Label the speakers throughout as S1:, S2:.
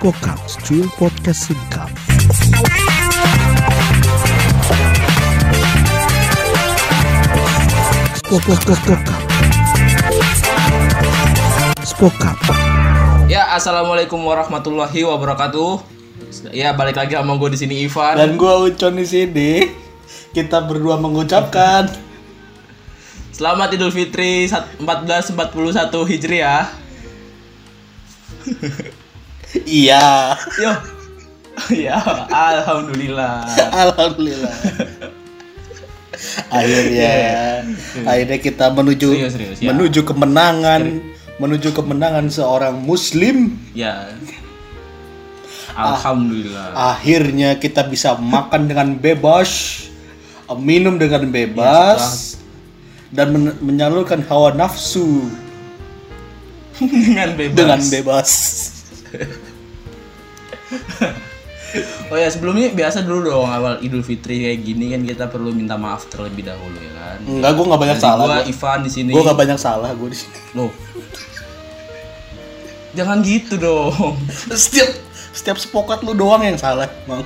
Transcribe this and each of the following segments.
S1: Podcasts, cuy podcast singkat. Spokap. Spokap.
S2: Ya, assalamualaikum warahmatullahi wabarakatuh. Ya, balik lagi sama gue di sini Ivan.
S3: Dan gua Ucon di sini. Kita berdua mengucapkan
S2: Selamat Idul Fitri sat- 1441 Hijriah.
S3: iya.
S2: Yo. ya, alhamdulillah. Iya.
S3: Alhamdulillah. Akhirnya akhirnya kita menuju
S2: Serius, serius, ya.
S3: menuju kemenangan, menuju kemenangan seorang muslim.
S2: Ya.
S3: Ah.
S2: Alhamdulillah.
S3: Akhirnya kita bisa makan dengan bebas, minum dengan
S2: Iya,
S3: bebas dan men- menyalurkan hawa nafsu
S2: Dengan bebas.
S3: dengan bebas.
S2: Oh ya, sebelumnya biasa dulu dong awal Idul Fitri kayak gini kan kita perlu minta maaf terlebih dahulu ya kan.
S3: Enggak, gua nggak banyak Hmm, salah.
S2: Gue
S3: Gua,
S2: Ivan di sini.
S3: gua nggak banyak salah gua di sini.
S2: Loh. Jangan gitu dong.
S3: setiap setiap sepokat lu doang yang salah bang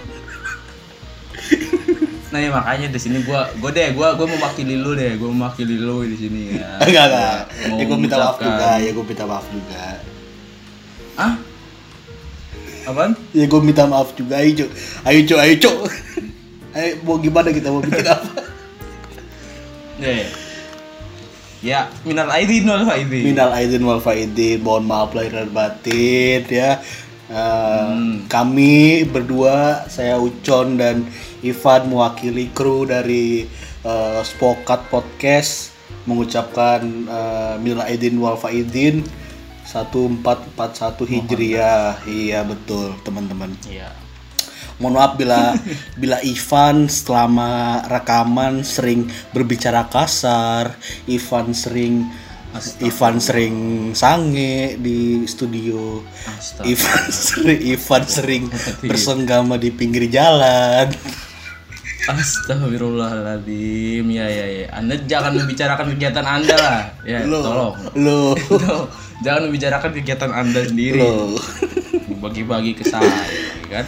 S2: Nah ya makanya di sini gua gua deh gua gua mewakili lu deh, gua mewakili lu di sini ya.
S3: enggak enggak
S2: Mau
S3: ya gue minta maaf
S2: mengucapkan-
S3: juga ya gue minta maaf juga
S2: Ah? Apaan?
S3: ya gue minta maaf juga ayo cuk ayo cuk ayo cuk ayo mau gimana kita mau bikin apa
S2: Ya. Ya, minal aidin wal faidin.
S3: minal aidin wal faidin mohon maaf lahir dan batin ya Eh, Kami berdua, saya Ucon dan Ivan mewakili kru dari eh, Spokat Podcast mengucapkan eh, Minal Aidin wal Faidin 1441 Hijriah. Iya betul teman-teman.
S2: Iya.
S3: Mohon maaf bila bila Ivan selama rekaman sering berbicara kasar, Ivan sering Ivan sering sange di studio.
S2: Astaga.
S3: Ivan sering Ivan sering bersenggama di pinggir jalan.
S2: Astagfirullahaladzim. Ya ya ya. Anda jangan membicarakan kegiatan Anda lah. Ya, tolong.
S3: Lo
S2: Tolong. jangan membicarakan kegiatan Anda sendiri.
S3: lo.
S2: bagi-bagi ke saya kan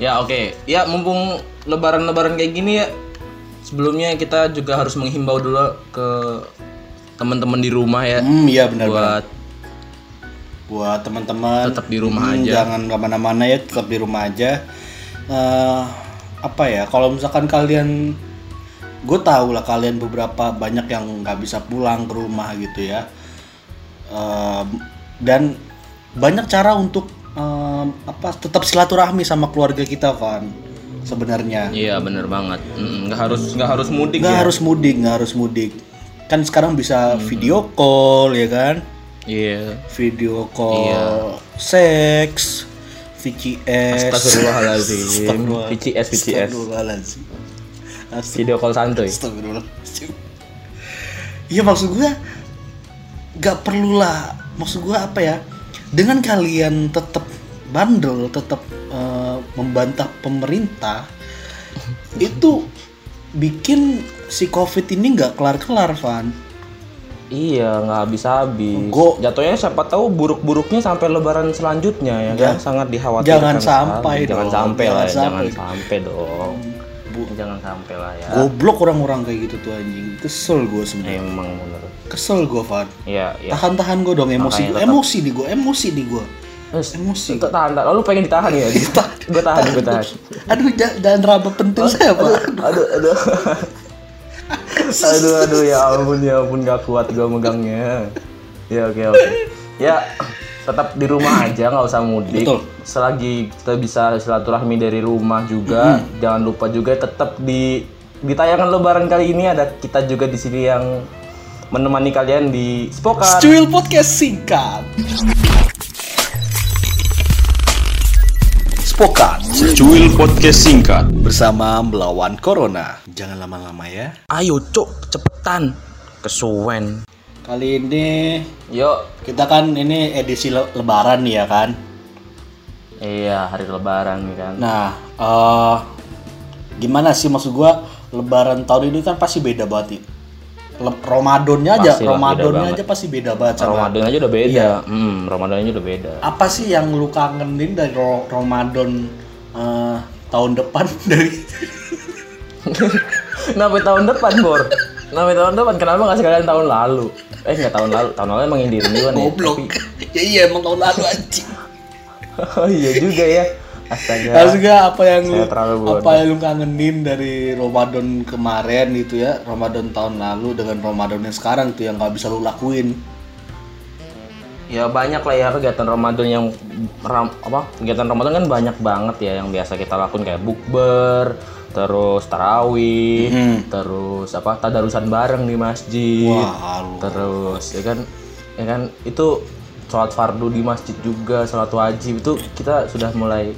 S2: ya oke ya mumpung lebaran-lebaran kayak gini ya sebelumnya kita juga harus menghimbau dulu ke teman-teman di rumah ya
S3: Hmm, iya benar benar.
S2: buat
S3: buat teman-teman Hmm,
S2: Tetap di rumah aja.
S3: jangan kemana-mana ya tetap di rumah aja Eh, apa ya kalau misalkan kalian gue tahu lah kalian beberapa banyak yang nggak bisa pulang ke rumah gitu ya Eh, dan banyak cara untuk eh, apa tetap silaturahmi sama keluarga kita Van sebenarnya
S2: iya bener banget Mm, nggak harus nggak harus mudik
S3: nggak
S2: ya Hmm.
S3: harus mudik nggak harus mudik kan sekarang bisa video call ya kan
S2: iya
S3: video call seks VCS
S2: Astagfirullahaladzim VCS VCS
S3: Astagfirullahaladzim Astagfirullahaladzim
S2: video call santuy
S3: Astagfirullahaladzim Iya maksud gua Gak perlulah Maksud gua apa ya Dengan kalian tetap bandel Tetap eh, membantah pemerintah Itu bikin si covid ini nggak kelar-kelar Van
S2: Iya, nggak habis-habis.
S3: Gua-
S2: Jatuhnya siapa tahu buruk-buruknya sampai lebaran selanjutnya ya kan sangat dikhawatirkan.
S3: jangan sampai
S2: sekali. Jangan
S3: dong,
S2: sampai lah, ya.
S3: jangan
S2: jangan
S3: sampai.
S2: sampai dong.
S3: Bu-
S2: Jangan sampai lah ya.
S3: Goblok orang-orang kayak gitu tuh anjing Kesel gua sebenarnya
S2: Emang menurut.
S3: Kesel gua Van
S2: Iya, iya.
S3: Tahan-tahan gue dong emosi
S2: Makanya
S3: gue,
S2: tetap-
S3: emosi nih gue, emosi nih gue.
S2: Terus,
S3: Emosi.
S2: itu tahan, tahan. Lalu pengen ditahan ya? gue tahan, gue tahan.
S3: Aduh, ja- jangan raba pentil saya, Pak.
S2: Oh, Aduh, aduh. aduh, aduh, ya ampun, ya ampun, gak kuat gue megangnya. Ya, oke, oke. Ya, tetap di rumah aja, nggak usah mudik.
S3: Betul.
S2: Selagi kita bisa silaturahmi dari rumah juga, jangan lupa juga tetap di di tayangan Lebaran kali ini ada kita juga di sini yang menemani kalian di Spokan.
S3: Cuil podcast singkat. Spokan
S1: Cuil podcast singkat.
S3: bersama melawan corona. Jangan lama-lama ya.
S2: Ayo, cok, cepetan. Kesuwen.
S3: Kali ini
S2: Yuk,
S3: kita kan ini edisi le- lebaran nih ya kan.
S2: iya hari Lebaran kan.
S3: Nah, eh gimana sih maksud gua lebaran tahun ini kan pasti beda banget nih. le- Ramadannya aja,
S2: Pastilah, beda
S3: Ramadannya
S2: banget.
S3: aja pasti beda banget sama
S2: Nah, Ramadan aja udah beda. Hmm, Ramadan aja udah beda.
S3: apa sih yang lu kangenin dari Ro- Ramadan eh, tahun depan dari
S2: Kenapa tahun depan, Bor? Kenapa tahun depan? Kenapa nggak sekalian tahun lalu? Eh, nggak tahun lalu. Tahun lalu emang Indira duluan ya.
S3: goblok
S2: Tapi-
S3: ya iya emang tahun lalu anjing
S2: oh iya juga ya. Astaga.
S3: Harus nggak apa yang lu,
S2: Saya terlalu bodoh.
S3: apa yang lu kangenin dari Ramadan kemarin gitu ya Ramadan tahun lalu dengan Ramadan yang sekarang tuh yang nggak bisa lu lakuin
S2: Ya banyak lah ya kegiatan Ramadan yang ram- apa? Kegiatan Ramadan kan banyak banget ya yang biasa kita lakukan kayak bukber, terus tarawih,
S3: Mm-hmm.
S2: terus apa? Tadarusan bareng di masjid.
S3: wah lu
S2: terus ya kan ya kan itu sholat fardu di masjid juga sholat wajib itu kita sudah mulai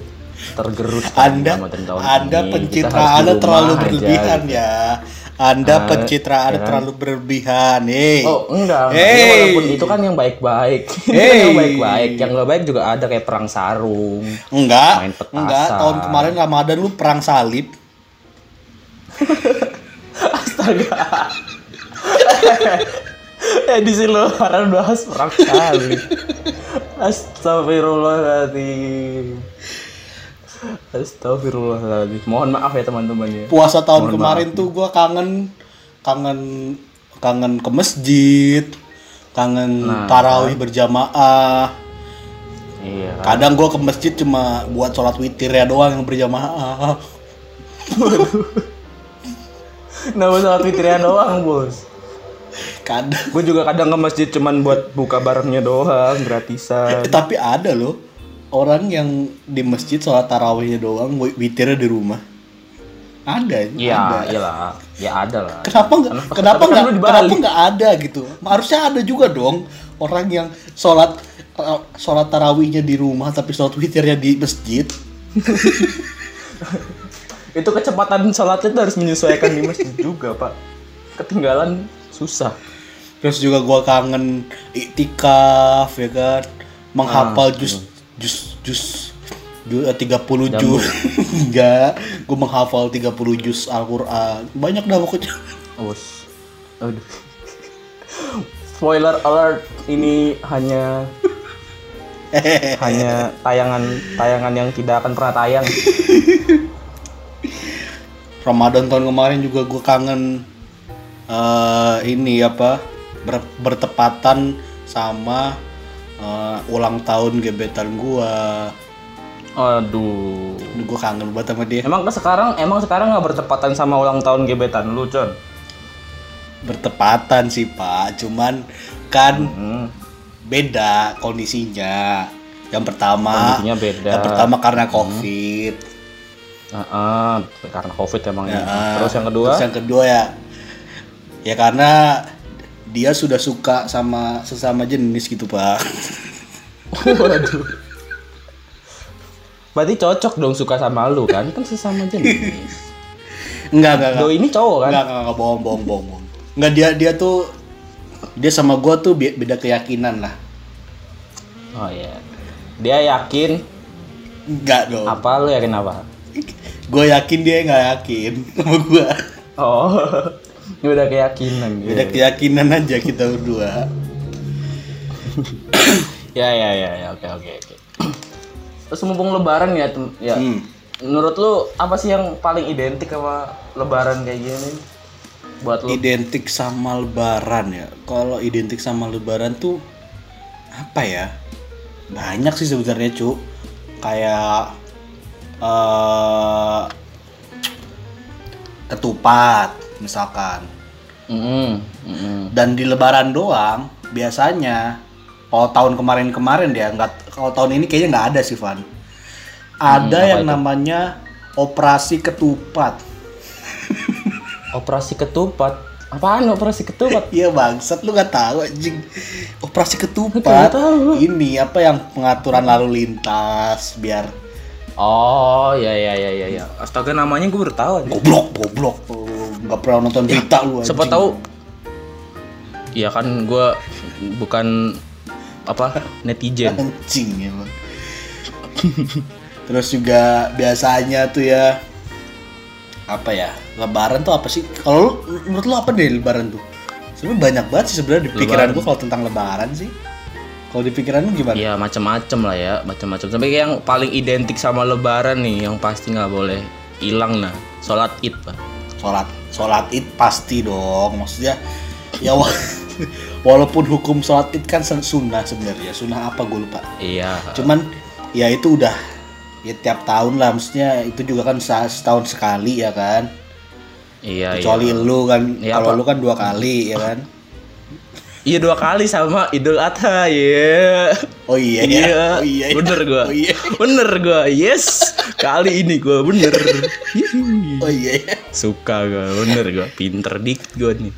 S2: tergerus
S3: anda
S2: sama tentang tahun
S3: anda
S2: ini. Kita harus
S3: pencitraannya
S2: di
S3: terlalu
S2: rumah aja,
S3: berlebihan
S2: gitu.
S3: ya anda
S2: Ah,
S3: pencitraan
S2: ya kan?
S3: terlalu berlebihan eh
S2: oh enggak
S3: Hey.
S2: Ya, walaupun itu kan yang baik-baik Itu kan
S3: Hey.
S2: yang baik-baik yang nggak baik juga ada kayak perang sarung
S3: enggak
S2: main petasan.
S3: enggak tahun kemarin Ramadan lu perang salib
S2: astaga Eh, edisi luaran bahas perang kali astagfirullahaladzim astagfirullahaladzim mohon maaf ya teman-teman ya
S3: puasa tahun kemarin tuh gua kangen kangen kangen ke masjid kangen
S2: Nah,
S3: tarawih
S2: kan.
S3: berjamaah
S2: iya
S3: kadang gua ke masjid cuma buat sholat witir ya doang yang berjamaah
S2: nah salat fitrian doang bos
S3: kadang
S2: gue juga kadang ke masjid cuman buat buka barengnya doang gratisan
S3: Eh, tapi ada loh orang yang di masjid sholat tarawihnya doang wi- witirnya di rumah ada ada.
S2: iya iyalah ya ada lah
S3: kenapa nggak kenapa
S2: tapi kan
S3: nggak
S2: lu di Bali.
S3: kenapa nggak ada gitu harusnya ada juga dong orang yang sholat eh, sholat tarawihnya di rumah tapi sholat witirnya di masjid
S2: itu kecepatan sholatnya itu harus menyesuaikan di masjid juga pak ketinggalan susah
S3: terus juga gua kangen iktikaf ya kan
S2: Ah,
S3: menghafal
S2: iya.
S3: jus jus jus ju- eh, 30 juz enggak gue menghafal 30 juz Al-Qur'an banyak dah pokoknya
S2: Awas. Aduh. Spoiler alert, ini hanya hanya tayangan tayangan yang tidak akan pernah tayang.
S3: Ramadan tahun kemarin juga gue kangen eh, ini apa ber- bertepatan sama eh, ulang tahun gebetan gua.
S2: Aduh.
S3: Gue kangen banget sama dia.
S2: Emang ke sekarang emang sekarang nggak bertepatan sama ulang tahun gebetan lu, Con?
S3: Bertepatan sih pak, cuman kan
S2: Hmm.
S3: beda kondisinya. Yang pertama,
S2: Kondisinya beda.
S3: Ah,
S2: Hmm.
S3: yang pertama karena covid.
S2: Ah, ah, karena Covid emang ya.
S3: Nah,
S2: Terus yang kedua?
S3: terus yang kedua ya, ya karena dia sudah suka sama sesama jenis gitu pak.
S2: Waduh. Berarti cocok dong suka sama lu kan? Kan sesama jenis.
S3: Enggak enggak. enggak.
S2: Do ini cowok kan?
S3: Enggak, enggak, enggak, bohong, bohong, bohong, bohong. Enggak, dia, dia tuh, dia sama gua tuh be- beda keyakinan lah.
S2: Oh iya. Dia yakin
S3: Enggak dong.
S2: apa lu yakin apa?
S3: Gue yakin dia nggak yakin sama gua.
S2: Oh, ini udah keyakinan.
S3: Beda
S2: gitu.
S3: keyakinan aja kita berdua.
S2: Ya ya ya ya oke oke oke. Terus mumpung Lebaran ya, tem- ya.
S3: Hmm.
S2: Menurut lu apa sih yang paling identik sama Lebaran kayak gini? Buat lu?
S3: Identik sama lebaran ya. Kalau identik sama lebaran tuh apa ya? Banyak sih sebenarnya, Cuk. Kayak eh ketupat misalkan.
S2: Mm-mm, mm-mm.
S3: dan di lebaran doang biasanya kalau tahun kemarin-kemarin ya nggak kalau tahun ini kayaknya nggak ada sih Van ada
S2: Hmm,
S3: yang namanya operasi ketupat
S2: Operasi ketupat. Apaan operasi ketupat?
S3: Iya bangsat lu nggak tahu anjing operasi ketupat
S2: Nggak tahu.
S3: ini apa yang pengaturan lalu lintas biar
S2: Oh ya ya ya ya ya. Astaga namanya gue baru tahu. aja.
S3: goblok goblok Lu nggak pernah nonton berita lu anjing
S2: Ya, Siapa tahu? Iya kan gue bukan apa netizen.
S3: anjing emang terus juga biasanya tuh ya apa ya lebaran tuh apa sih kalau lu- menurut lu apa deh lebaran tuh Sebenarnya banyak banget sih sebenarnya di pikiran
S2: Lebaran.
S3: gue kalau tentang Lebaran sih. Kalau di pikiran lu gimana?
S2: Iya macam-macam lah ya, macam-macam. Sampai kayak yang paling identik sama Lebaran nih, yang pasti nggak boleh hilang nah, sholat id pak.
S3: Sholat, sholat id pasti dong. Maksudnya ya wa- walaupun hukum sholat id kan sen- sunnah sebenarnya. Sunnah apa gue lupa.
S2: Iya.
S3: Cuman ya itu udah ya tiap tahun lah. Maksudnya itu juga kan sa- setahun sekali ya kan.
S2: Iya.
S3: Kecuali lu kan,
S2: Iya,
S3: kalau
S2: apa?
S3: lu kan dua kali ya kan.
S2: Iya dua kali sama Idul Adha, iya.
S3: Oh iya, ya. oh iya, ya.
S2: Bener gua.
S3: Oh iya,
S2: Bener gua. Yes. Kali ini gua bener. Hihi.
S3: oh iya. ya.
S2: Suka gua, bener gua. Pinter dik gua nih.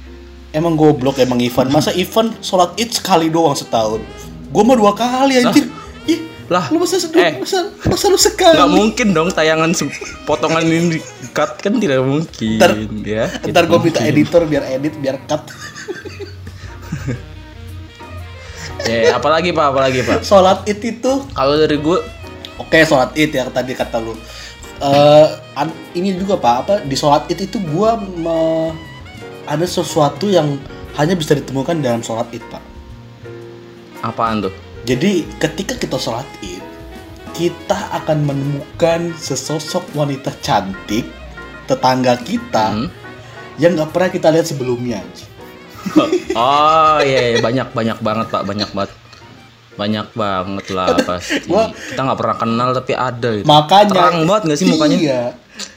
S3: Emang goblok emang Ivan. Masa Ivan sholat id sekali doang setahun? Gue mah dua kali anjir. Ih,
S2: Lah.
S3: lu masa sedih?
S2: Eh.
S3: Masa, masa lu sekali?
S2: Gak mungkin dong tayangan se- potongan ini di cut kan tidak mungkin
S3: Ntar-
S2: ya.
S3: Ntar
S2: tidak
S3: gue minta
S2: mungkin.
S3: editor biar edit, biar cut.
S2: Ya, apalagi Pak, apalagi Pak.
S3: sholat id itu,
S2: Kalau dari gue
S3: oke sholat id ya tadi kata lu. Eh, an- ini juga pak apa di sholat id itu gue ada sesuatu yang hanya bisa ditemukan dalam sholat id pak.
S2: apaan tuh?
S3: Jadi ketika kita sholat id, kita akan menemukan sesosok wanita cantik tetangga kita
S2: Hmm?
S3: yang nggak pernah kita lihat sebelumnya.
S2: Oh iya, iya, banyak banyak banget Pak, banyak banget. Banyak banget lah pasti.
S3: Gua-
S2: Kita nggak pernah kenal tapi ada gitu.
S3: Makanya
S2: Terang banget nggak sih mukanya?
S3: Iya,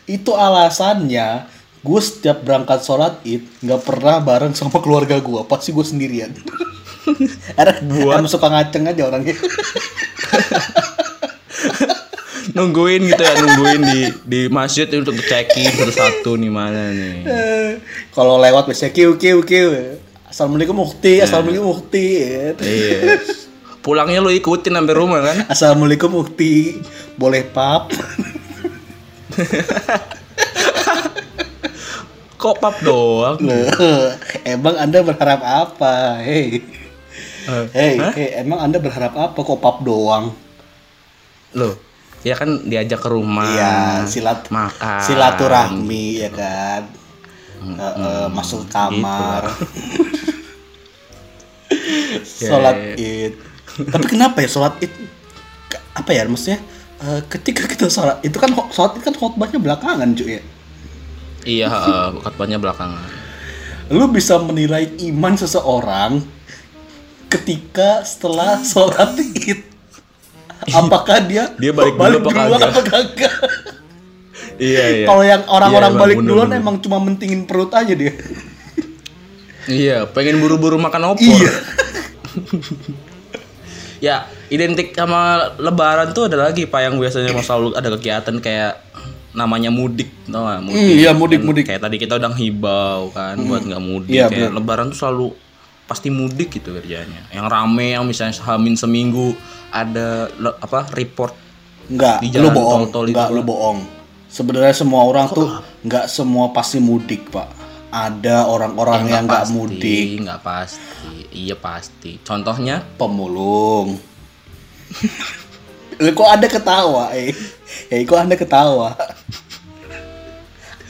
S3: itu alasannya gue setiap berangkat sholat id nggak pernah bareng sama keluarga gue, pasti gue sendirian. Karena emang suka ngaceng aja orangnya.
S2: Nungguin gitu ya, nungguin di di masjid untuk cekin satu-satu nih mana nih.
S3: Eh, Kalau lewat biasanya kiu kiu kiu. Assalamualaikum Mukti, Assalamualaikum Mukti. gitu.
S2: Iya. Pulangnya lu ikutin sampai rumah kan?
S3: Assalamualaikum Ukti, boleh pap?
S2: Kok pap doang?
S3: emang anda berharap apa? Hei,
S2: Eh,
S3: hei, hei, emang anda berharap apa? Kok pap doang?
S2: Loh, ya kan diajak ke rumah.
S3: Iya, silat,
S2: makan.
S3: silaturahmi ya kan. Eh, eh, masuk kamar,
S2: Gitu.
S3: sholat
S2: Iya.
S3: id. Tapi kenapa ya sholat id? Ke- Apa ya maksudnya? eh, ketika kita sholat itu kan ho- sholat id kan khotbahnya belakangan cuy ya.
S2: Iya, heeh, khotbahnya belakangan.
S3: lu bisa menilai iman seseorang ketika setelah sholat id apakah dia
S2: Dia balik dulu apa
S3: duluan
S2: kagak?
S3: apa kagak
S2: Iya, iya.
S3: kalau yang
S2: Iya,
S3: orang-orang
S2: emang,
S3: balik
S2: bener,
S3: duluan
S2: bener.
S3: emang cuma mentingin perut aja dia
S2: Iya, pengen buru-buru makan opor.
S3: iya
S2: Ya, identik sama lebaran tuh ada lagi Pak yang biasanya mau selalu ada kegiatan kayak namanya mudik, tau gak? Mudik.
S3: Hmm, iya, mudik,
S2: Kan
S3: mudik.
S2: Kayak tadi kita udah hibau kan buat nggak mudik.
S3: Iya,
S2: kayak
S3: bener.
S2: lebaran tuh selalu pasti mudik gitu kerjanya. Yang rame yang misalnya hamin seminggu ada le- apa report
S3: Enggak,
S2: Di
S3: lu
S2: jalan
S3: bohong.
S2: tol-tol itu
S3: Enggak,
S2: kan.
S3: lu bohong. Sebenarnya semua orang tuh enggak semua pasti mudik, Pak. Ada orang-orang yang
S2: Eh,
S3: enggak
S2: pasti,
S3: mudik,
S2: Ya, nggak pasti. Iya pasti. Contohnya
S3: pemulung. Eh, kok Anda ketawa, eh? Eh, kok Anda ketawa?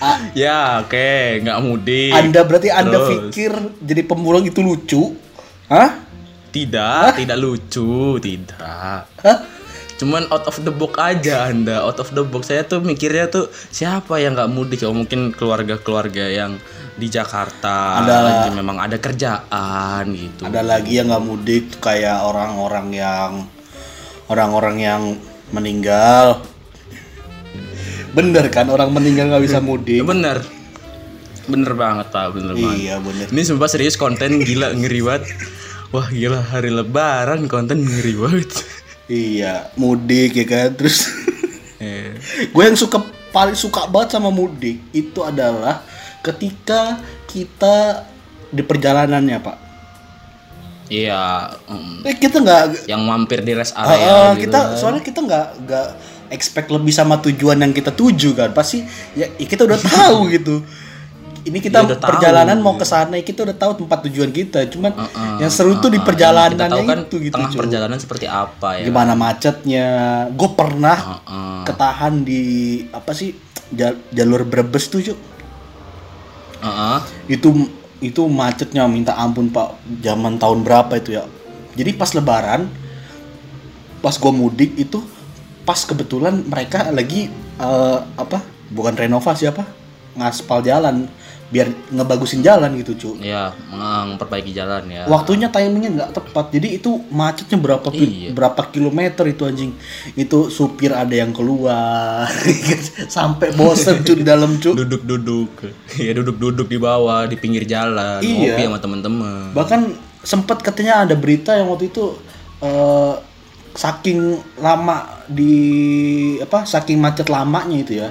S3: A-
S2: ya oke, nggak mudik.
S3: anda berarti
S2: Iya.
S3: Anda
S2: Terus.
S3: pikir jadi pemulung itu lucu? Hah?
S2: Tidak, tidak lucu, tidak.
S3: Hah?
S2: Cuman out of the box aja Anda, out of the box. Saya tuh mikirnya tuh siapa yang nggak mudik? Oh, mungkin keluarga-keluarga yang di Jakarta
S3: Ada-
S2: lagi memang ada kerjaan gitu.
S3: Ada lagi yang nggak mudik tuh kayak orang-orang yang orang-orang yang meninggal. Bener kan orang meninggal nggak bisa mudik?
S2: Ya, bener. Bener banget, Pak, bener banget.
S3: Iya bener.
S2: Ini sumpah serius konten gila ngeri banget. Wah, gila hari lebaran konten ngeri banget.
S3: Iya mudik ya kan. Terus
S2: Eh,
S3: gue yang suka paling suka banget sama mudik itu adalah ketika kita di perjalanannya pak.
S2: Iya, mm,
S3: Eh, kita nggak
S2: yang mampir di rest
S3: eh, eh,
S2: area gitu.
S3: kita soalnya kita nggak nggak expect lebih sama tujuan yang kita tuju kan pasti ya ya kita udah tahu gitu. Ini kita
S2: Iya, udah tahu.
S3: perjalanan mau ke sana ya kita udah tahu tempat tujuan kita. Cuman
S2: Heeh,
S3: yang seru tuh
S2: heeh.
S3: di perjalanannya
S2: Kita tahu kan
S3: itu gitu.
S2: tengah
S3: Jo.
S2: perjalanan seperti apa ya.
S3: Gimana macetnya? Gue pernah
S2: Heeh.
S3: ketahan di apa sih jal- jalur Brebes tuh Cuk.
S2: Heeh.
S3: itu itu macetnya minta ampun pak zaman tahun berapa itu ya jadi pas lebaran pas gua mudik itu pas kebetulan mereka lagi eh, apa bukan renovasi apa ngaspal jalan biar ngebagusin jalan gitu cu
S2: ya meng- memperbaiki jalan ya
S3: waktunya timingnya nggak tepat jadi itu macetnya berapa ki-
S2: Iya.
S3: berapa kilometer itu anjing itu supir ada yang keluar sampai bosen cu di dalam cu
S2: duduk-duduk ya duduk-duduk di bawah di pinggir jalan
S3: Iya.
S2: ngopi sama temen-temen
S3: bahkan sempat katanya ada berita yang waktu itu eh, saking lama di apa saking macet lamanya itu ya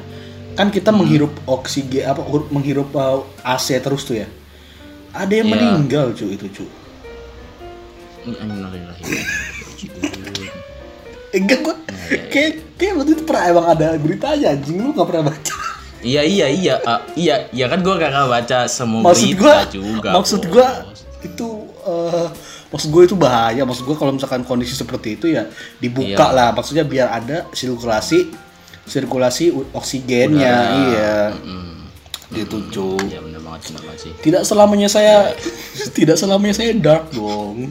S3: kan kita menghirup oksigen apa menghirup eh, AC terus tuh ya ada yang
S2: Iya.
S3: meninggal cu itu cu
S2: Ini innalillahi wa inna ilaihi raji'un.
S3: Eh, enggak gua kayak kayak waktu itu pernah emang ada beritanya anjing lu nggak pernah baca
S2: Iya iya iya ah, iya iya kan gua kakak baca semua
S3: maksud gua
S2: berita juga.
S3: maksud
S2: Bos.
S3: gua itu eh, maksud gua itu bahaya maksud gua kalau misalkan kondisi seperti itu ya dibuka
S2: Iya.
S3: lah maksudnya biar ada sirkulasi sirkulasi u- oksigennya iya
S2: Mm,
S3: gitu cu
S2: Iya bener banget bener banget sih.
S3: tidak selamanya saya tidak selamanya saya dark dong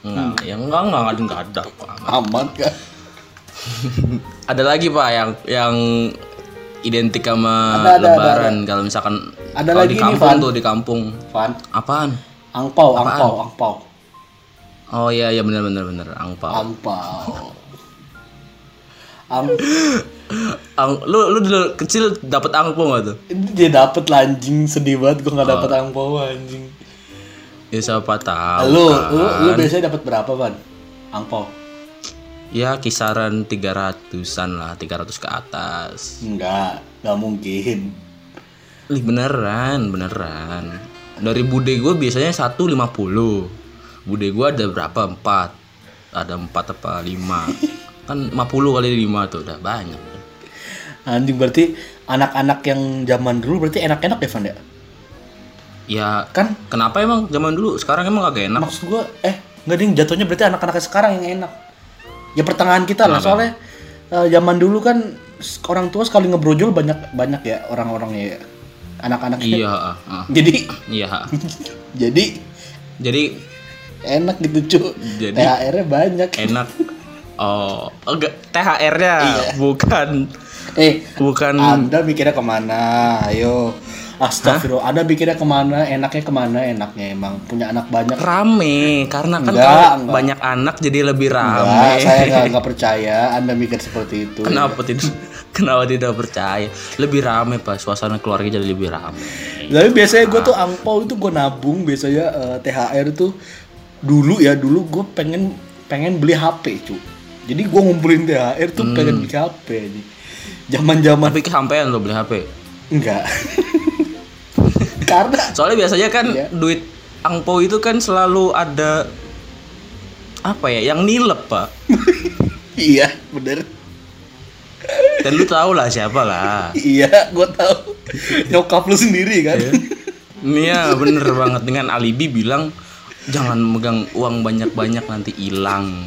S2: Enggak, ya enggak enggak enggak, enggak ada. Pak.
S3: aman kan
S2: Ada lagi Pak yang yang identik sama
S3: Ada, ada,
S2: lebaran kalau misalkan
S3: Ada
S2: kalau
S3: lagi
S2: di
S3: nih,
S2: kampung
S3: Van.
S2: tuh di kampung.
S3: Van
S2: Apaan?
S3: angpau angpau angpau
S2: Oh iya iya bener bener bener angpau.
S3: angpau Ang
S2: Ang- lu lu dulu kecil dapat angpau gak tuh?
S3: dia dapet lah anjing sedih banget gua nggak
S2: Oh.
S3: dapet angpau anjing
S2: Ya siapa tahu. kan.
S3: lu,
S2: Kak.
S3: lu, lu biasanya dapat berapa, Van? Angpau?
S2: Ya kisaran 300-an lah, 300 ke atas.
S3: Enggak, enggak mungkin.
S2: Ih, beneran, beneran. Dari bude gue biasanya 150. Bude gue ada berapa? 4. Ada 4 apa 5. kan 50 kali 5 tuh udah banyak.
S3: Anjing berarti anak-anak yang zaman dulu berarti enak-enak ya, Van ya?
S2: Ya,
S3: Kan
S2: kenapa emang zaman dulu sekarang emang kagak enak?
S3: maksud gua eh enggak ding jatuhnya berarti anak-anak sekarang yang enak. Ya pertengahan kita
S2: Iya,
S3: lah soalnya eh, zaman dulu kan s- orang tua sekali ngebrojol banyak banyak ya orang-orangnya ya. Anak-anaknya.
S2: Iya, ah, ah.
S3: Jadi
S2: Iya. ah.
S3: jadi
S2: Jadi
S3: enak gitu, cu.
S2: Jadi- Eh.
S3: THR-nya banyak.
S2: enak Oh, enggak THR-nya bukan
S3: Eh,
S2: bukan
S3: Anda mikirnya kemana? Ayo. Astagfirullah. Anda mikirnya kemana? Enaknya kemana? Enaknya emang punya anak banyak.
S2: rame karena kan
S3: Enggak,
S2: kalau
S3: enggak.
S2: banyak anak jadi lebih
S3: Enggak,
S2: rame.
S3: saya nggak nggak percaya. Anda mikir seperti itu.
S2: Kenapa tidak kenapa tidak percaya? Lebih rame pak, suasana keluarga jadi lebih rame.
S3: Tapi biasanya gue tuh angpau itu gue nabung. Biasanya eh, THR tuh dulu ya dulu gue pengen pengen beli HP cu. Jadi gue ngumpulin THR tuh pengen beli HP. ini. Zaman-zaman
S2: Tapi kesampaian lo beli HP.
S3: enggak. Karena
S2: Soalnya biasanya kan
S3: Iya.
S2: duit angpo itu kan selalu ada apa ya yang nilep pak.
S3: iya bener.
S2: Dan lu tau lah siapa lah.
S3: Iya, gue tahu. Nyokap lu sendiri kan.
S2: Iya bener banget dengan alibi bilang jangan megang uang banyak-banyak nanti hilang.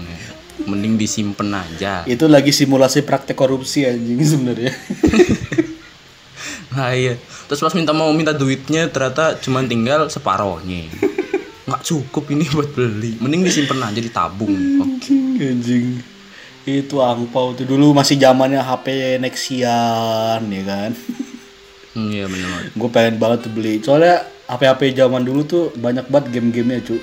S2: Mending disimpen aja.
S3: Itu lagi simulasi praktek korupsi anjing sebenarnya.
S2: Nah iya. Terus pas minta mau minta duitnya ternyata cuman tinggal separohnya. Nggak cukup ini buat beli. Mending disimpan aja ditabung. Oh,
S3: anjing. Itu angpau tuh dulu masih zamannya HP Nexian ya kan.
S2: Iya bener banget.
S3: Gue pengen banget tuh beli. Soalnya HP-HP zaman dulu tuh banyak banget game-gamenya, cu.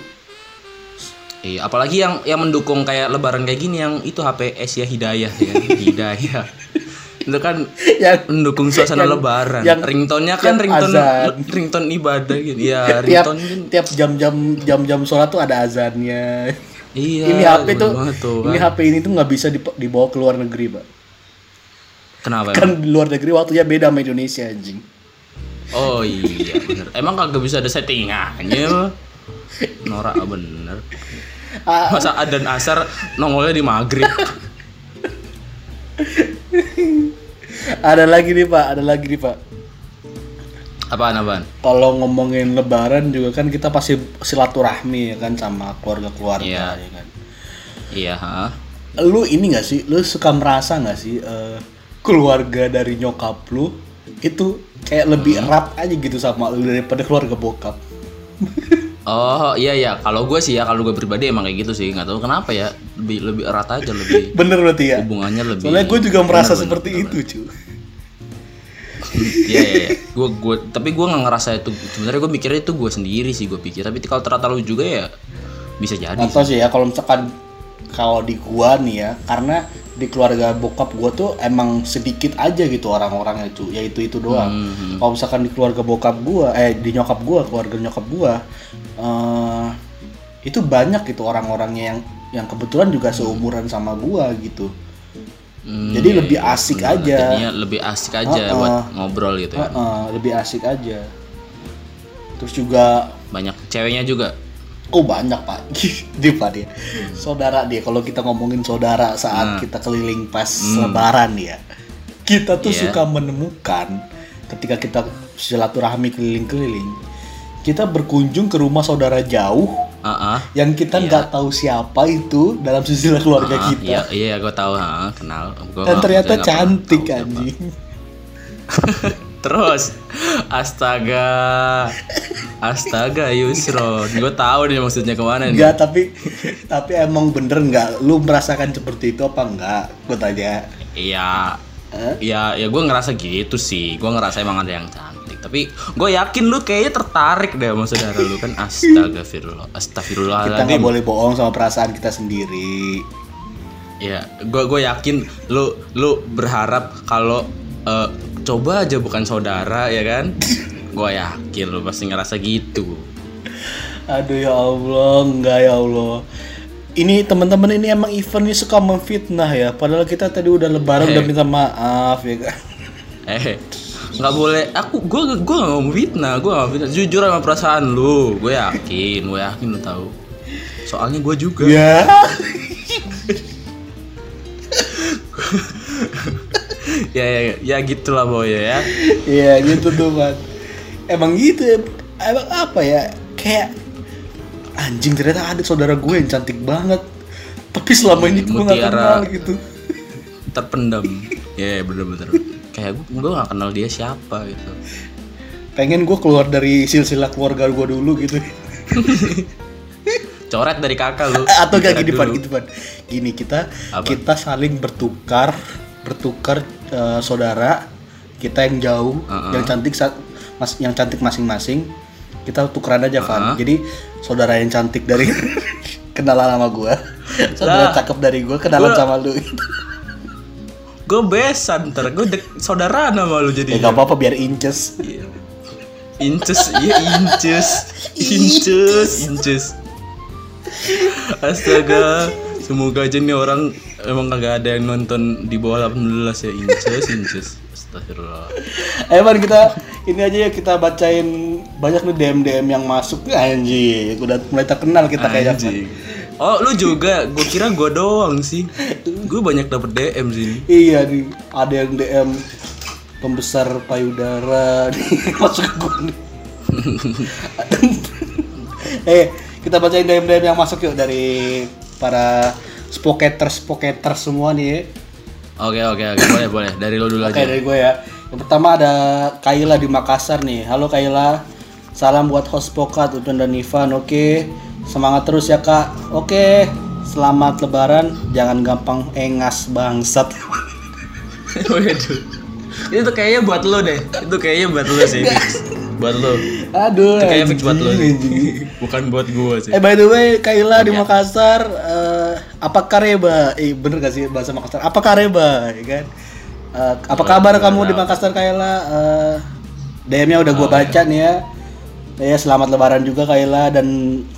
S2: Iya, apalagi yang yang mendukung kayak lebaran kayak gini yang itu HP Asia Hidayah ya. Hidayah. Itu kan
S3: Yang-
S2: mendukung suasana
S3: yang-
S2: lebaran.
S3: yang-
S2: ringtonnya kan
S3: yang
S2: ringtone
S3: azan.
S2: ringtone ibadah gitu. Iya,
S3: tiap
S2: ringtone kan.
S3: tiap jam-jam jam-jam sholat tuh ada azannya.
S2: Iya.
S3: ini
S2: bener
S3: HP tuh,
S2: banget tuh
S3: ini
S2: kan.
S3: HP ini tuh nggak bisa dip- dibawa ke luar negeri, Pak.
S2: Kenapa? emang?
S3: Kan di luar negeri waktunya beda sama Indonesia, anjing.
S2: Oh iya bener. Emang kagak bisa ada settingannya Norak bener
S3: Ah.
S2: Masa adan asar nongolnya di maghrib
S3: Ada lagi nih, Pak. Ada lagi nih, Pak.
S2: Apaan apaan?
S3: kalau ngomongin lebaran juga kan kita pasti silaturahmi ya kan sama keluarga-keluarga
S2: Iya.
S3: ya kan.
S2: Iya ha?
S3: Lu ini gak sih, lu suka merasa gak sih eh, keluarga dari nyokap lu itu kayak lebih
S2: Hmm.
S3: erat aja gitu sama lu daripada keluarga bokap.
S2: Oh iya iya, kalau gue sih ya kalau gue pribadi emang kayak gitu sih nggak tahu kenapa ya lebih lebih erat aja lebih
S3: Bener berarti ya.
S2: hubungannya lebih.
S3: Soalnya gue juga merasa
S2: Bener,
S3: seperti
S2: bener,
S3: itu cu.
S2: kan. Iya iya, iya. gue gue tapi gue nggak ngerasa itu sebenarnya gue mikirnya itu gue sendiri sih gue pikir tapi kalau ternyata lu juga ya bisa jadi.
S3: Atau sih ya kalau misalkan kalau di gua nih ya, karena di keluarga bokap gua tuh emang sedikit aja gitu orang-orangnya cu, ya itu itu doang. Kalau misalkan di keluarga bokap gua, eh di nyokap gua, keluarga nyokap gua, eh itu banyak gitu orang-orangnya yang yang kebetulan juga seumuran sama gua gitu.
S2: Hmm,
S3: Jadi
S2: iya,
S3: lebih
S2: iya.
S3: asik
S2: Bener,
S3: aja.
S2: Jadinya lebih asik aja
S3: Uh-uh.
S2: buat ngobrol gitu ya.
S3: Heeh, lebih asik aja. Terus juga
S2: Banyak ceweknya juga.
S3: Oh banyak pak, di pak dia. Saudara dia, kalau kita ngomongin saudara saat
S2: Nah.
S3: kita keliling pas lebaran ya, kita tuh
S2: Hmm. Iya.
S3: suka menemukan ketika kita silaturahmi keliling-keliling, kita berkunjung ke rumah saudara jauh
S2: Ah ah.
S3: yang kita nggak tahu siapa itu dalam sisilah
S2: Ah,
S3: keluarga Ya kita.
S2: Iya iya gue tahu ha, kenal. Gua
S3: Dan
S2: nggak-
S3: ternyata
S2: saya nggak pernah
S3: cantik
S2: tahu siapa. Iya.
S3: anjing.
S2: Terus astaga astaga Yusron, gue tahu nih maksudnya kemana nih.
S3: Enggak, tapi tapi emang bener nggak? Lu merasakan seperti itu apa enggak? Gue tanya.
S2: Iya.
S3: Hah?
S2: Ya, ya gue ngerasa gitu sih. Gue ngerasa emang ada yang cantik. Tapi gue yakin lu kayaknya tertarik deh sama saudara lu kan. Astagfirullah.
S3: Kita nggak
S2: Astagfirullahaladzim.
S3: boleh bohong sama perasaan kita sendiri.
S2: Ya, gue gue yakin lu lu berharap kalau eh, coba aja bukan saudara ya kan? gue yakin lu pasti ngerasa gitu.
S3: Aduh ya Allah, enggak ya Allah. Ini teman-teman ini emang eventnya suka memfitnah ya. Padahal kita tadi udah lebaran udah minta maaf ya kan.
S2: Eh, nggak boleh. Aku gue gue nggak mau fitnah. Gue nggak mau fitnah. Jujur sama perasaan lu. Gue yakin. Gue yakin lu tahu. Soalnya gue juga.
S3: Ya.
S2: ya, ya, ya gitulah boy ya.
S3: Iya gitu tuh kan. Emang gitu ya. Emang apa ya? Kayak anjing ternyata ada saudara gue yang cantik banget. Tapi selama ini gue nggak kenal
S2: Mutiara.
S3: gitu.
S2: Terpendam. Ya, bener-bener. Kayak gue gue nggak kenal dia siapa gitu.
S3: Pengen gue keluar dari silsilah keluarga gue dulu gitu.
S2: Coret dari kakak lu.
S3: atau gak
S2: Coret
S3: gini pan
S2: dulu.
S3: gitu pan gini kita
S2: Apa?
S3: kita saling bertukar bertukar eh, saudara kita yang jauh
S2: Uh-uh.
S3: yang cantik sa- mas yang cantik masing-masing kita tukeran aja Van jadi saudara yang cantik dari kenalan sama gua saudara
S2: Lah,
S3: cakep dari gua kenalan
S2: Nah. gua-
S3: sama lu Ya,
S2: Gue besan ntar. Gue saudara nama lu
S3: ya
S2: jadi.
S3: gak apa-apa biar inces
S2: Inces, iya inces, inces, inces. Astaga, semoga aja nih orang emang kagak ada yang nonton di bawah 18 ya inces, inces. Astagfirullah.
S3: Ayo Pan kita ini aja ya kita bacain banyak nih DM DM yang masuk anjing udah mulai terkenal kita kayaknya Pan.
S2: Anjing. Oh, lu juga? Gue kira gue doang sih. Gue banyak dapet DM sini.
S3: Iya nih, ada yang DM pembesar payudara nih, masuk ke gua nih. eh, kita bacain DM DM yang masuk yuk dari para spoketers spoketers semua nih.
S2: Oke, oke, oke. Boleh, boleh. Dari lu dulu
S3: Oke
S2: aja.
S3: dari gue ya. Yang pertama ada Kaila di Makassar nih. Halo Kaila. Salam buat host Pokat Utun dan Ivan. Oke. Semangat terus ya Kak. Oke. Selamat lebaran. Jangan gampang engas bangsat.
S2: Waduh. Itu kayaknya buat lu deh. Itu kayaknya buat lu sih. Buat lu.
S3: Aduh.
S2: Itu kayaknya fix buat lu.
S3: anjing,
S2: sih.
S3: anjing.
S2: Bukan buat gue sih.
S3: Eh by the way, Kaila
S2: Iya.
S3: di Makassar, eh, apa kareba? Eh bener gak sih bahasa Makassar? Apa kareba? Ya kan? Eh, apa
S2: Iya,
S3: kabar kamu di Makassar Kaila? Eh, DM-nya udah gua
S2: Oh, iya.
S3: baca nih ya. Ya selamat Lebaran juga Kaila dan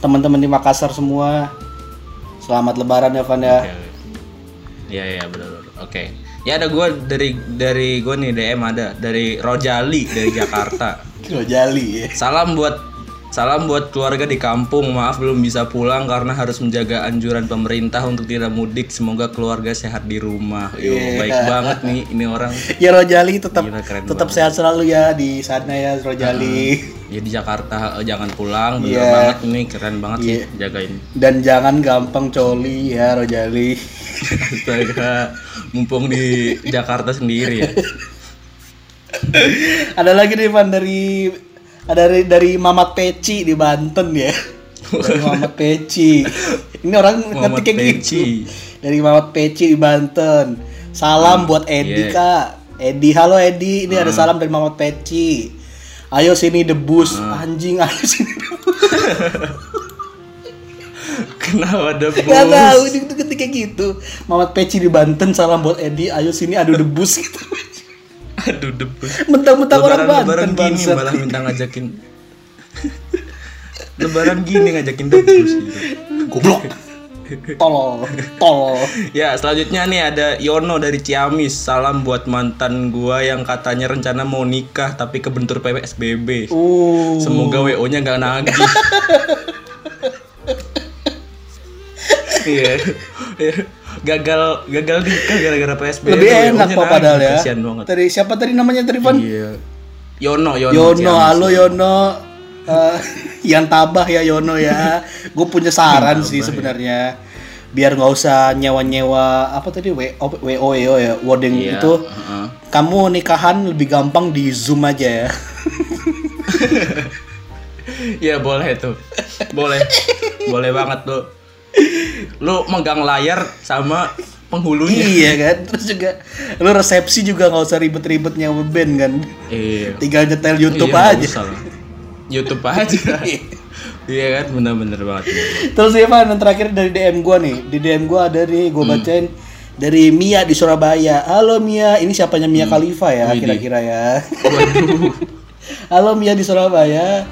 S3: teman-teman di Makassar semua. Selamat Lebaran ya Van ya.
S2: Iya iya benar. benar. Oke. Ya ada gue dari dari gue nih DM ada dari Rojali dari Jakarta.
S3: Lo jali ya.
S2: Salam buat salam buat keluarga di kampung. Maaf belum bisa pulang karena harus menjaga anjuran pemerintah untuk tidak mudik. Semoga keluarga sehat di rumah. Yo,
S3: Iya.
S2: baik banget nih ini orang.
S3: Ya Rojali tetap
S2: Gila, keren
S3: tetap sehat selalu ya di sana ya Rojali.
S2: Ya di Jakarta eh, jangan pulang. Bener
S3: Iya.
S2: banget nih keren banget
S3: Iya.
S2: sih jagain.
S3: Dan jangan gampang coli ya Rojali.
S2: Astaga, mumpung di Jakarta sendiri ya.
S3: ada lagi nih Van dari ada dari, dari Mamat Peci di Banten ya. Dari Mamat Peci. Ini orang ngerti
S2: Mamat
S3: kayak
S2: Peci.
S3: gitu. Dari Mamat Peci di Banten. Salam buat
S2: iya.
S3: Edi
S2: Hmm.
S3: Kak. Edi, halo Edi. Ini ada salam dari Mamat Peci. Ayo sini debus
S2: Hmm.
S3: anjing, ayo sini debus.
S2: Kenapa ada
S3: Gak tahu
S2: bus?
S3: itu ketika gitu. Mamat Peci di Banten salam buat Edi, ayo sini adu debus gitu.
S2: Aduh debus.
S3: Mentang-mentang orang
S2: Lebaran-lebaran
S3: Banten
S2: gini
S3: bangsat.
S2: malah minta ngajakin. Lebaran gini ngajakin debus. Gitu.
S3: Goblok. Tolol, tolol.
S2: Ya, selanjutnya nih ada Yono dari Ciamis. Salam buat mantan gua yang katanya rencana mau nikah tapi kebentur PSBB.
S3: Uh.
S2: Semoga WO-nya nggak nagih. Iya. Iya. gagal gagal nikah gara-gara PSBB.
S3: Lebih
S2: WO-nya
S3: enak kok
S2: nagih.
S3: padahal ya.
S2: Kasian banget.
S3: Tadi siapa tadi namanya tadi Van?
S2: Iya. Yono, Yono.
S3: Yono,
S2: Ciamis.
S3: halo Yono. Eh, yang tabah ya Yono ya. Gue punya saran sih sebenarnya. Biar nggak usah nyewa-nyewa apa tadi W- O- WO WO ya, wording
S2: Iya,
S3: itu.
S2: heeh.
S3: Kamu nikahan lebih gampang di Zoom aja ya.
S2: Iya boleh tuh, boleh, boleh banget tuh. Lu megang layar sama penghulunya.
S3: iya kan? Terus juga lu resepsi juga nggak usah ribet-ribet nyewa band kan.
S2: Iya.
S3: Tinggal nyetel YouTube
S2: nggak
S3: aja.
S2: usah lah. YouTube aja. Iya kan, bener-bener banget.
S3: Terus ya Van, yang terakhir dari DM gua nih. Di DM gua ada nih, gua
S2: Hmm.
S3: bacain dari Mia di Surabaya. Halo Mia, ini siapanya Mia Khalifa
S2: Hmm.
S3: ya
S2: Widih.
S3: kira-kira ya.
S2: Waduh.
S3: Halo Mia di Surabaya.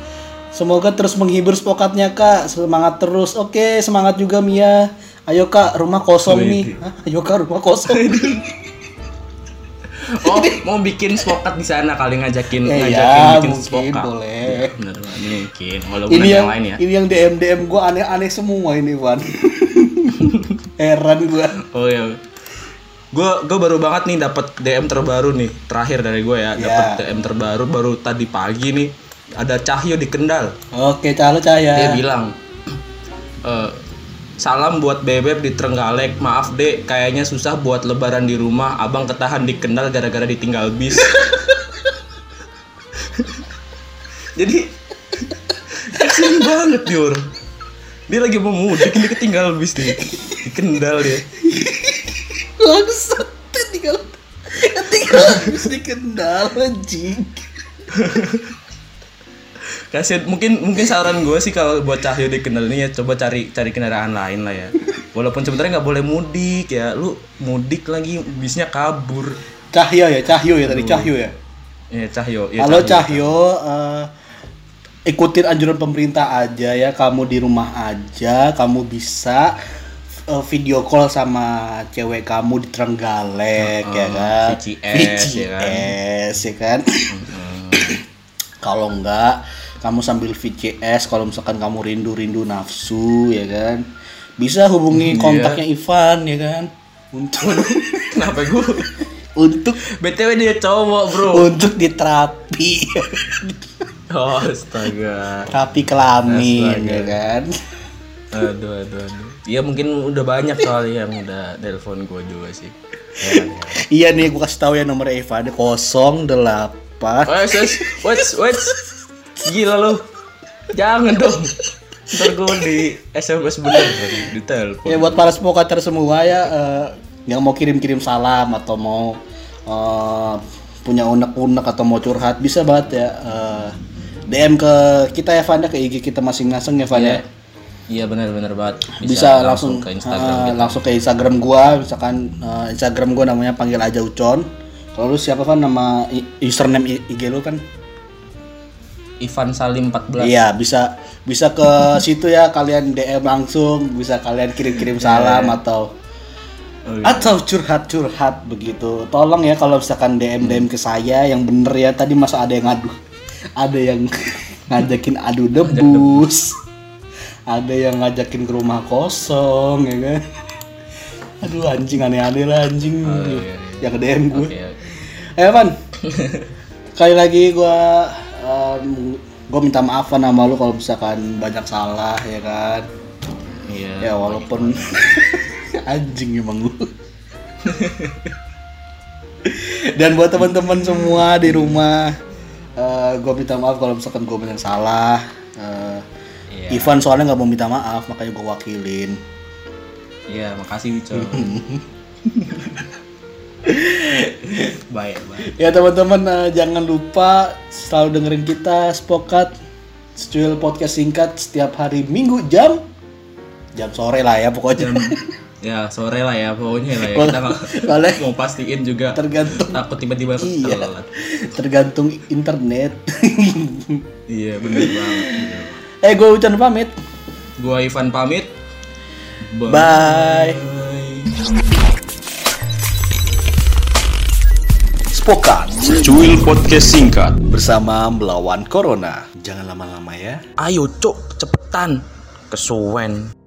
S3: Semoga terus menghibur spokatnya Kak. Semangat terus. Oke, semangat juga Mia. Ayo Kak, rumah kosong
S2: Widih.
S3: nih. Hah? Ayo Kak, rumah kosong.
S2: Oh, mau bikin spokat di sana kali ngajakin
S3: Ya,
S2: ngajakin
S3: ya,
S2: bikin
S3: mungkin
S2: spokat.
S3: boleh.
S2: Iya, Bener banget mungkin. Walaupun
S3: ini
S2: ada
S3: yang
S2: yang lain ya.
S3: ini yang DM DM gua aneh-aneh semua ini, Van. Heran gua.
S2: Oh ya. Gue gue baru banget nih dapat DM terbaru nih terakhir dari gue ya. Dapat
S3: Ya.
S2: DM terbaru baru tadi pagi nih. Ada Cahyo di Kendal.
S3: Oke, calo ya. cahaya.
S2: Dia bilang, "Eh, salam buat bebek di Trenggalek. Maaf dek, kayaknya susah buat lebaran di rumah. Abang ketahan di Kendal gara-gara ditinggal bis. Jadi kasihan banget nih orang. Dia lagi mau mudik, ini ketinggal bis nih. Di Kendal dia.
S3: langsung tinggal tinggal habis dikendal anjing
S2: Kasihan mungkin mungkin saran gue sih kalau buat Cahyo di Kendal ini ya coba cari cari kendaraan lain lah ya. Walaupun sebenarnya nggak boleh mudik ya, lu mudik lagi bisnya kabur.
S3: Cahyo ya Cahyo ya tadi Cahyo ya
S2: Ya Cahyo. Ya,
S3: halo Cahyo eh, ikutin anjuran pemerintah aja ya kamu di rumah aja kamu bisa eh, video call sama cewek kamu di Trenggalek ya kan
S2: VCS, ya kan? Mm-hmm.
S3: VCS, ya kan kalau enggak kamu sambil VCS kalau misalkan kamu rindu-rindu nafsu ya kan bisa
S2: Iya.
S3: hubungi kontaknya Ivan ya kan untuk
S2: Kenapa gue?
S3: untuk
S2: BTW dia cowok bro.
S3: untuk diterapi
S2: Oh, astaga.
S3: terapi kelamin
S2: Astaga.
S3: ya kan
S2: Aduh aduh aduh. Iya mungkin udah banyak soalnya yang udah telepon gue juga sih. Heran, heran.
S3: iya nih gua kasih tahu ya nomor Ivan 08
S2: Wes, wes, wes, wes. Gila lu. Jangan dong. Ntar gue di SMS bener di, di telepon.
S3: ya buat para spokater semua ya eh, yang mau kirim-kirim salam atau mau eh, punya unek-unek atau mau curhat bisa banget ya eh, DM ke kita ya Van ya, ke IG kita masing-masing ya Van ya.
S2: Iya benar-benar banget.
S3: bisa, langsung,
S2: ke Instagram
S3: ah,
S2: kita.
S3: langsung ke Instagram gua misalkan eh, Instagram gua namanya panggil aja Ucon kalau lu siapa kan nama i- username i- IG lu kan
S2: Ivan Salim 14.
S3: iya bisa bisa ke situ ya kalian DM langsung bisa kalian kirim-kirim salam atau
S2: Iya. Oh, iya.
S3: atau curhat-curhat begitu tolong ya kalau misalkan DM DM ke saya yang bener ya tadi masa ada yang ngadu ada yang ngajakin adu debus ada yang ngajakin ke rumah kosong ya kan aduh anjing aneh-aneh lah anjing
S2: iya,
S3: yang DM gue
S2: Oke, oke.
S3: Eh Van, sekali lagi gua gue minta maaf Van sama lu kalau misalkan banyak salah ya kan.
S2: Iya.
S3: Ya walaupun anjing emang lu. Dan buat teman-teman semua di rumah, gue minta maaf kalau misalkan gue bilang salah. Eh,
S2: Ya.
S3: Ivan soalnya nggak mau minta maaf, makanya gue wakilin.
S2: Iya, makasih Wico. baik, baik.
S3: Ya teman-teman eh, jangan lupa selalu dengerin kita Spokat Secuil podcast singkat setiap hari Minggu jam jam sore lah ya pokoknya.
S2: Ya, sore lah ya pokoknya lah ya.
S3: Boleh.
S2: Kita mau,
S3: Boleh.
S2: mau pastiin juga.
S3: tergantung
S2: Takut tiba-tiba
S3: Iya.
S2: telat.
S3: tergantung internet.
S2: Iya, bener banget. bener.
S3: eh gue Ucan pamit.
S2: Gua Ivan pamit.
S3: Bye.
S2: Bye.
S3: Spokat
S1: Cuil Podcast Singkat
S3: bersama melawan corona. Jangan lama-lama ya.
S2: Ayo, Cok, cepetan. Kesuwen.